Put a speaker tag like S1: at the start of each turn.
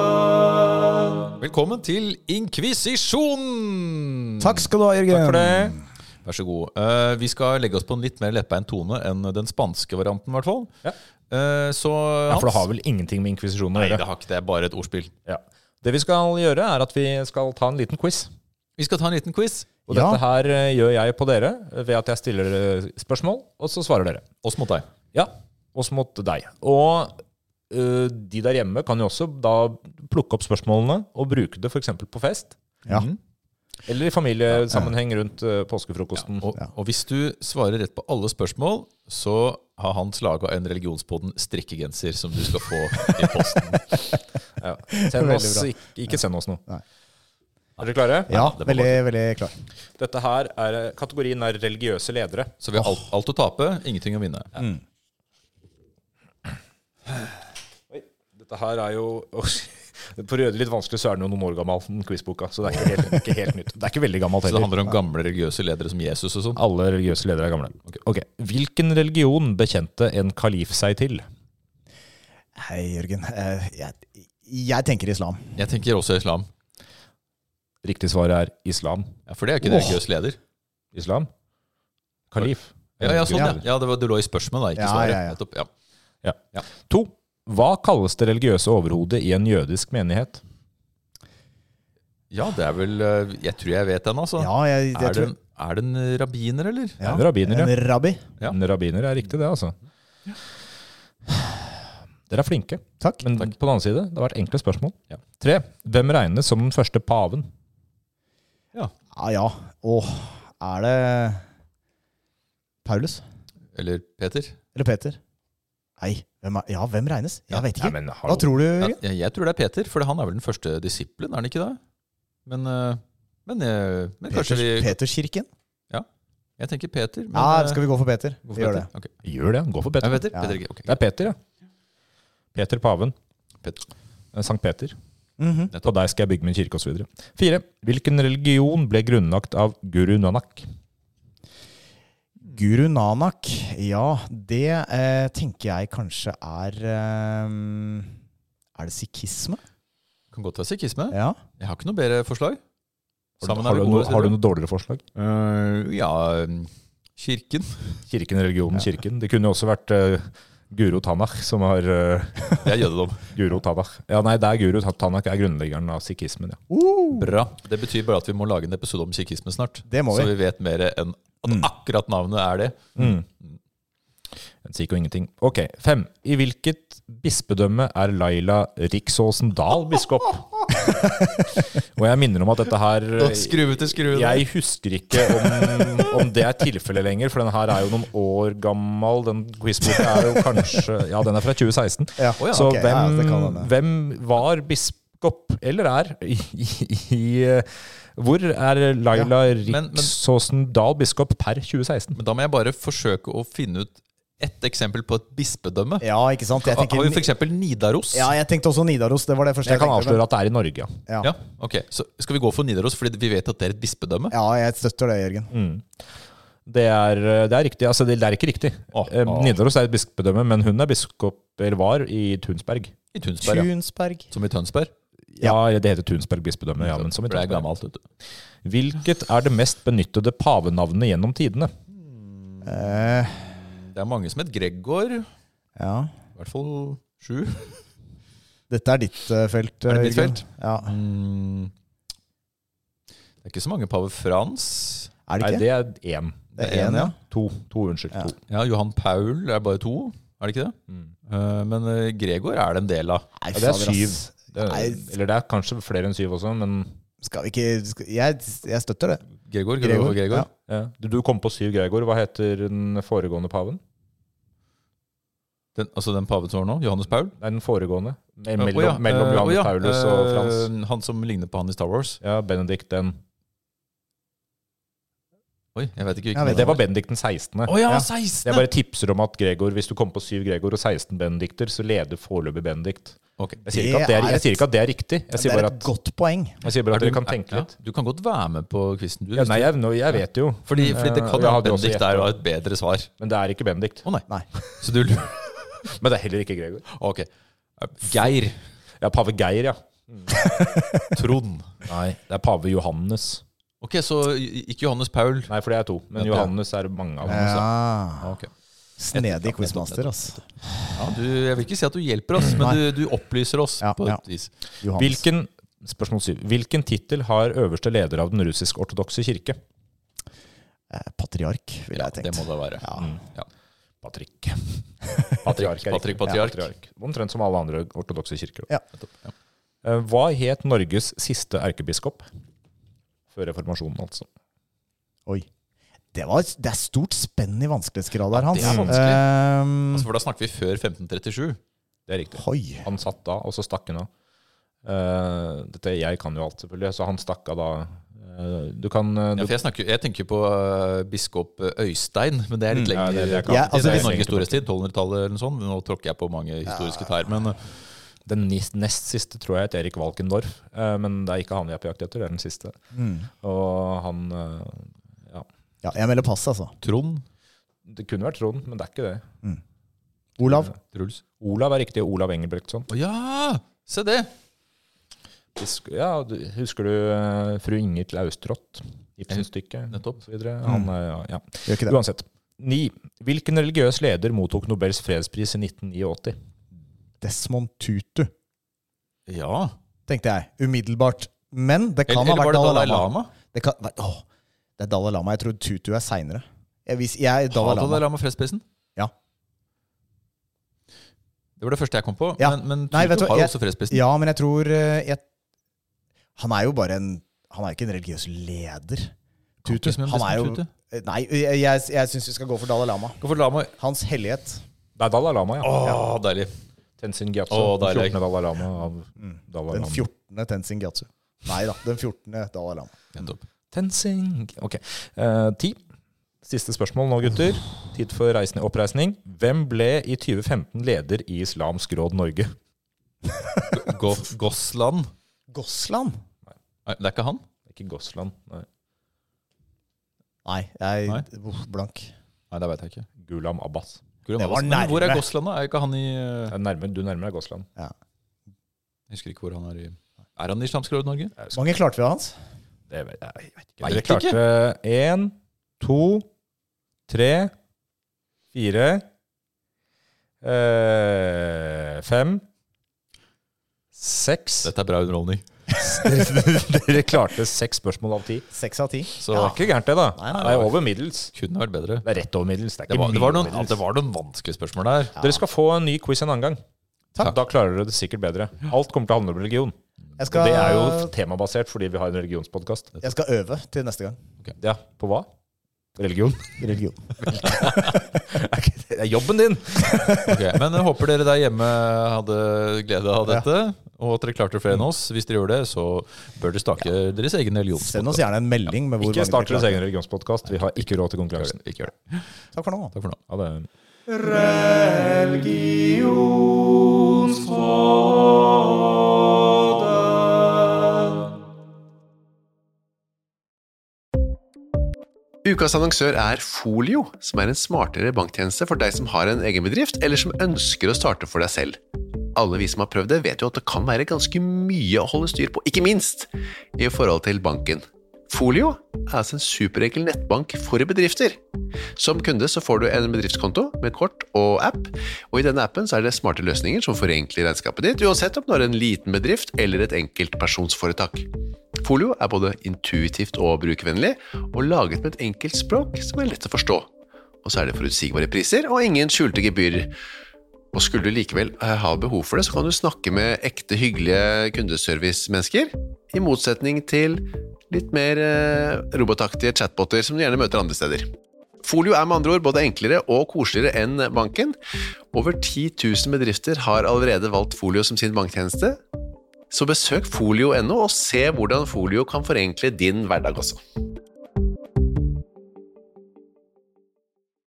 S1: Religionsrådet.
S2: Velkommen til inkvisisjon!
S3: Takk skal du ha, Jørgen.
S2: Takk for det. Vær så god. Eh, vi skal legge oss på en litt mer lettbeint tone enn den spanske varianten, i hvert fall.
S4: Ja.
S2: Eh, så
S4: Ja,
S2: Hans
S4: for det har vel ingenting med inkvisisjonen å
S2: Nei, det
S4: gjøre.
S2: har ikke det. Det er Bare et ordspill.
S4: Ja. Det vi skal gjøre, er at vi skal ta en liten quiz.
S2: Vi skal ta en liten quiz.
S4: Og
S3: Ja.
S4: dette her eh, gjør jeg på dere ved at jeg stiller eh, spørsmål, og så svarer dere.
S2: Oss mot deg.
S4: Ja, oss mot deg. Og eh, de der hjemme kan jo også da plukke opp spørsmålene og bruke det f.eks. på fest. Mm.
S3: Ja.
S4: Eller i familiesammenheng rundt eh, påskefrokosten.
S2: Og, og hvis du svarer rett på alle spørsmål, så har Hans laga en religionspodden strikkegenser som du skal få i posten.
S4: Ja. Send
S3: Veldig
S4: oss,
S3: bra.
S4: ikke, ikke send oss noe.
S3: Nei.
S4: Er dere klare?
S3: Ja,
S2: det var
S3: veldig, veldig klar.
S4: Dette her er eh, Kategorien er religiøse ledere.
S2: Så vi har alt, alt å tape, ingenting å vinne.
S4: Oi, dette her er jo For å gjøre det litt vanskelig, så er den jo noen år gammel, den quizboka. Så det er ikke helt, ikke helt nytt. Det er ikke veldig gammelt
S2: Så det
S4: heller.
S2: handler om gamle religiøse ledere som Jesus og sånn.
S4: Alle religiøse ledere er gamle. Ok, Hvilken religion bekjente en kalif seg til?
S3: Hei, Jørgen. Eh, Jeg, jeg tenker islam.
S2: Jeg tenker også islam.
S4: Riktig svar er islam.
S2: Ja, for det er ikke en
S3: Åh.
S2: religiøs leder.
S4: Islam? Kalif.
S2: Ja, ja, sånn, ja.
S3: Ja.
S2: ja det, var, det lå i spørsmålet, da, ikke
S3: Ja,
S2: svaret.
S3: ja, ja.
S2: Nettopp, ja.
S4: To. Hva kalles det religiøse overhodet i en jødisk menighet?
S2: Ja, det er vel eh, Jeg tror jeg vet den, altså.
S3: Ja, jeg, jeg
S2: er, det
S3: tror
S2: en, er det en rabbiner, eller?
S3: ja.
S4: En rabbiner, ja.
S3: En rabbi.
S2: Ja.
S4: En rabbiner er riktig, det, altså. Dere er flinke.
S3: Takk.
S4: Men på den annen side, det har vært enkle spørsmål.
S2: Ja.
S4: Tre. Hvem regnes som den første paven?
S3: Ja, ja. Åh, er det Paulus?
S2: Eller Peter?
S3: Eller Peter? Nei, hvem er, ja, hvem regnes? Jeg vet ikke.
S4: Nei, men, hallo.
S3: Hva tror du,
S2: Ja,
S3: Jørgen?
S2: jeg, jeg tror det er Peter, for han er vel den første disiplen, er han ikke det? Men, eh, men, eh, men kanskje
S3: Peters,
S2: vi
S3: Peterskirken?
S2: Jeg tenker Peter. Men,
S3: Ja, skal vi gå for Peter?
S2: Hvorfor
S3: Vi gjør det.
S2: Peter? Ok.
S4: Gjør det, gå for
S2: Nei,
S4: Peter.
S2: Peter?
S3: Ja.
S2: Peter ikke. ok.
S4: Det er Peter, ja. Peter paven.
S2: Peter.
S4: Eh, Sankt Peter.
S3: Mhm.
S4: På deg skal jeg bygge min kirke, osv. Fire. Hvilken religion ble grunnlagt av guru Nanak?
S3: Guru Nanak, ja, det eh, tenker jeg kanskje er eh, Er det sikhisme?
S2: Kan godt være sikhisme.
S3: Ja.
S2: Jeg har ikke noe bedre forslag.
S4: Har du,
S2: Sammen er
S4: har,
S2: vi
S4: du,
S2: gode,
S4: noe-
S2: sier
S4: har du
S2: du.
S4: noe dårligere forslag?
S2: Eh, ja mm, Kirken.
S4: Kirken, religionen, kirken. Det kunne jo også vært eh, Guru Tanakh, som har eh,
S2: Det er jødedom.
S4: Guru Tanakh. Ja, nei, det er Guru Tanakh er grunnleggeren av sikhismen, ja.
S2: Bra. Det betyr bare at vi må lage en episode om sikhisme snart.
S3: Det må
S2: Så
S3: vi.
S2: vi vet mer enn at
S3: Mm.
S2: akkurat navnet er det.
S4: Mm. Den sier jo ingenting. Ok, fem. I hvilket bispedømme er Laila Riksåsen Dahl biskop? Og jeg minner om at dette her
S2: Skruve til skrue.
S4: Jeg husker ikke om, om det er tilfellet lenger, for den her er jo noen år gammel. Den quizboka er jo kanskje Ja, den er fra 2016.
S3: Ja.
S2: Å ja,
S4: Så
S3: ok, ja, det kan
S4: hvem,
S3: hende.
S4: hvem var biskop, eller er, i, i, i eh, Hvor er Laila
S2: men-
S4: Riksåsen Dahl biskop per 2016?
S2: Men da må jeg bare forsøke å finne ut ett eksempel på et bispedømme.
S3: ja, ikke sant? Jeg
S2: Har vi
S3: tenker,
S2: f.eks. Nidaros?
S3: ja, jeg tenkte også Nidaros. Det var det første
S4: Jeg
S3: jeg,
S4: kan
S3: tenkte.
S4: avsløre at det er i Norge, ja.
S3: men- Ja.
S2: Ja, ok. Så skal vi gå for Nidaros, fordi vi vet at det er et bispedømme?
S3: ja, jeg støtter det, Jørgen.
S4: Det er, det er riktig. Altså, det, det er ikke riktig.
S2: Å,
S4: Eh,
S2: å.
S4: Nidaros er et bispedømme, men hun er biskop, eller var, i Tunsberg.
S2: I Tunsberg, ja.
S3: Tunsberg.
S2: Som i Tønsberg.
S4: Ja, det heter Tunsberg bispedømme, ja, men som i
S2: For det er
S4: Tønsberg.
S2: gammelt, vet du.
S4: Hvilket er det mest benyttede pavenavnet gjennom tidene?
S3: Eh,
S2: Det er mange som heter Gregor. I
S3: ja.
S2: hvert fall sju.
S3: Dette er ditt eh, felt.
S2: Er det ditt
S3: Jørgen.
S2: felt?
S3: Ja.
S2: Mm. Det er ikke så mange pave Frans.
S3: Er det
S4: Nei,
S3: ikke?
S4: det er én.
S3: Det er
S2: det
S3: én,
S2: er en,
S3: ja.
S4: To. to unnskyld.
S3: Ja.
S4: To.
S2: Ja, Johan Paul er bare to. Er det ikke det? Eh, men eh, Gregor er det en del av.
S3: Nei,
S4: Ja, det er
S3: fader,
S4: syv.
S3: ass.
S4: Det,
S3: Nei.
S4: eller det er kanskje flere enn syv også, men
S3: Skal vi ikke skal, jeg, jeg støtter det.
S2: Gregor, kan du gå for Gregor?
S3: Ja.
S4: ja. du, du kom på syv Gregor. Hva heter den foregående paven?
S2: Den, altså den paven som var nå? Johannes Paul?
S4: Nei, den foregående. Me- Mellom,
S2: Å ja,
S4: mellom
S2: eh, å
S4: Johannes
S2: ja,
S4: Paulus og
S2: eh,
S4: Frans.
S2: Han som ligner på han i Star Wars.
S4: Ja, Benedikt den
S2: Oi, jeg vet ikke
S3: Jeg
S2: hvilken
S3: vet
S4: Det var Bendik den 16.
S2: Å ja,
S3: Ja.
S2: 16!
S4: Jeg bare tipser om at Gregor, hvis du kommer på 7 Gregor og 16 Benedikter, så leder foreløpig Bendikt.
S2: Ok.
S4: Jeg sier,
S3: Det
S4: ikke at det er,
S3: er
S4: jeg
S3: et-
S4: sier ikke at det er riktig. Jeg
S3: Det
S4: sier
S3: er
S4: bare
S3: et
S4: at,
S3: godt poeng.
S4: jeg sier bare at
S2: Er
S4: dere kan tenke
S2: ja,
S4: litt.
S2: Du kan godt være med på quizen, du.
S4: Ja,
S2: hvis
S4: nei,
S2: du-
S4: jeg, nå- jeg vet jo,
S2: fordi, fordi det
S4: Eh,
S2: kan
S4: jeg
S2: være
S4: hadde også
S2: Bendik
S4: gjettet.
S2: der var et bedre svar.
S4: men det er ikke Bendikt.
S2: Å nei.
S3: Nei.
S2: Så du lurer
S4: Men det er heller ikke Gregor.
S2: Ok. Geir.
S4: Ja, pave Geir, ja.
S2: Trond.
S4: Nei, det er pave Johannes.
S2: Ok, så i- ikke Johannes Paul.
S4: Nei, for det er to.
S2: Ja,
S4: Men
S2: ja.
S4: Johannes er mange av dem. så-
S3: Ja.
S2: Ok.
S3: Ah. Snedig quizmaster, altså.
S2: Ja, du, jeg vil ikke si at du hjelper oss, men du, du opplyser oss
S3: Ja,
S2: på et
S3: ja.
S2: vis.
S3: Johannes.
S4: Hvilken Spørsmål 7. Hvilken tittel har øverste leder av den russisk-ortodokse kirke?
S3: Eh, Patriark, ville jeg
S2: det må Mm.
S3: tenkt.
S2: det være.
S3: Ja.
S4: Patrick. Patriark. er
S2: Patrick
S4: riktig.
S2: Patriark.
S4: Omtrent som alle andre ortodokse kirker.
S3: Ja.
S2: Ja.
S4: Eh, Hva het Norges siste erkebiskop? Før reformasjonen, altså.
S3: Oi. Det, var, det er stort spenn i vanskelighetsgrad der, Hans.
S2: det er
S3: Ehm,
S2: Altså, for da snakker vi før 1537.
S4: Det er
S2: Altså,
S4: riktig.
S3: Hoi.
S4: Han satt da, og så stakk han av. Eh, dette, jeg kan jo alt, selvfølgelig, så han stakk av da. Eh, du kan eh,
S2: Ja,
S4: du,
S2: for jeg, snakker, jeg tenker på eh, biskop Øystein, men Mm, det er litt
S4: Ja,
S2: lenger.
S4: det- det kan-
S3: Ja, altså,
S2: det
S3: hvis-
S2: er Norges storhetstid, 1200-tallet eller noe sånt. Nå tråkker jeg på mange historiske tær. Men eh,
S4: Den nis- nest siste tror jeg het Erik Valkendorf, eh, men det er ikke han vi er på jakt etter, det er den siste.
S3: Mm.
S4: Og han eh,
S3: Ja, jeg melder pass, altså.
S2: Trond
S4: Det kunne vært Trond, men det er ikke det.
S3: Olav.
S2: Truls.
S4: Olav er riktig. Olav sånn. Engelbrektsson.
S2: Å ja! Se det!
S4: Husk- Ja, du, husker du eh, fru Inger Laustrått? Ibsen-stykket
S2: Nettopp.
S4: osv. Han er ja.
S3: Gjør ikke det.
S4: Uansett. 9. Hvilken religiøs leder mottok Nobels fredspris i 1989?
S3: Desmond Tutu,
S2: Ja.
S3: tenkte jeg umiddelbart. Men det kan
S2: Eller, eller
S3: ha
S2: var
S3: vært
S2: det
S3: Dalai
S2: Dalai
S3: Lama.
S2: Lama?
S3: Det, kan, nei, åh, det er Dalai Lama. Jeg tror Tutu er seinere. Jeg, vis- jeg er
S2: Har
S3: Dalai Lama.
S2: Dalai Lama fredsprisen?
S3: Ja.
S2: Det var det første jeg kom på.
S3: Ja.
S2: Men, men
S3: Nei, vet
S2: Tutu
S3: du hva,
S2: har jo
S3: jeg-
S2: også fredsprisen.
S3: Ja, men jeg tror eh, jeg, Han er jo bare en Han er jo ikke en religiøs leder.
S2: Kan ikke
S3: Tutu.
S2: som en
S3: Han er jo
S2: Desmond Tutu.
S3: Eh, Nei, jeg, jeg, jeg syns vi skal gå for Dalai Lama.
S2: Gå for Lama.
S3: Hans hellighet.
S4: Det er Dalai Lama, ja.
S2: Å, deilig.
S4: Tenzin Gyatso.
S2: Å,
S4: den
S2: deilig.
S4: 14. Dalai Lama av Dalai
S3: Den
S4: Lama.
S3: 14. Tenzin Gyatso. Nei da, den 14. Dalai Lama.
S2: Nettopp.
S4: Tenzing. Ok. Eh, ti. Siste spørsmål nå, gutter. Tid for reisende, oppreisning. Hvem ble i 2015 leder i Islamsk råd Norge?
S2: Go Gosland.
S3: Gosland?
S2: Nei, det er ikke han?
S4: Ikke Gosland, nei.
S3: Nei, jeg
S2: Nei.
S3: uff, blank.
S2: Nei, det veit jeg ikke.
S4: Gulam Abbas.
S2: Gulam
S3: Det var
S2: Abbas. Men Hvor er
S3: nærme.
S2: Gosland, da? Er ikke han i eh,
S4: Det er nærmere, du nærmer deg Gosland.
S2: Jeg husker ikke hvor han er i Er han i Islamsk Råd Norge?
S3: Hvor mange klarte vi, Hans?
S4: Det vet jeg, jeg vet ikke.
S2: Vet
S4: Dere
S2: ikke.
S4: klarte én, to, tre, fire eh, Fem. Seks.
S2: Dette er bra underholdning.
S4: Dere klarte seks spørsmål av ti.
S3: Seks av ti.
S2: Så
S4: Det er ikke gærent, det, da.
S3: Nei, nei,
S4: Det er over middels.
S2: kunne vært bedre.
S4: Det er rett over middels. Det er
S2: Det
S4: ikke
S2: var, det, var noen,
S4: mye over
S2: det
S4: middels.
S2: var noen vanskelige spørsmål der.
S4: Dere skal få en ny quiz en annen gang.
S2: Takk.
S4: Da klarer dere det sikkert bedre. Alt kommer til å handle om religion.
S3: Jeg
S4: Og
S3: skal,
S4: det er jo temabasert fordi vi har en religionspodkast.
S3: jeg skal øve til neste gang.
S4: Ja, på hva? Religion.
S3: Religion.
S4: Det er jobben din!
S2: Ok, men jeg håper dere der hjemme hadde glede av
S3: Ja.
S2: dette, og at dere klarte flere enn oss. Hvis dere gjør det, så bør dere stake deres egen religion.
S3: Send oss gjerne en melding med hvor
S4: Ikke
S3: mange
S4: start
S3: dere
S4: deres
S3: klarte.
S4: egen religionspodkast. Vi har ikke råd til konkurransen.
S2: Ikke gjør det.
S3: Takk for nå.
S2: Takk for nå.
S4: Ha det.
S1: Ukas annonsør er Folio, som er en smartere banktjeneste for deg som har en egen bedrift, eller som ønsker å starte for deg selv. Alle vi som har prøvd det, vet jo at det kan være ganske mye å holde styr på, ikke minst i forhold til banken. Folio er altså en superenkel nettbank for bedrifter. Som kunde så får du en bedriftskonto med kort og app, og i denne appen så er det smarte løsninger som forenkler regnskapet ditt, uansett om du har en liten bedrift eller et enkeltpersonsforetak. Folio er både intuitivt og brukervennlig, og laget med et enkelt språk som er lett å forstå. Og så er det forutsigbare priser og ingen skjulte gebyrer. Og skulle du likevel eh, ha behov for det, så kan du snakke med ekte hyggelige kundeservice-mennesker, i motsetning til litt mer eh, robotaktige chatboter som du gjerne møter andre steder. Folio er med andre ord både enklere og koseligere enn banken. Over 10 000 bedrifter har allerede valgt Folio som sin banktjeneste, så besøk folio.no og se hvordan folio kan forenkle din hverdag også.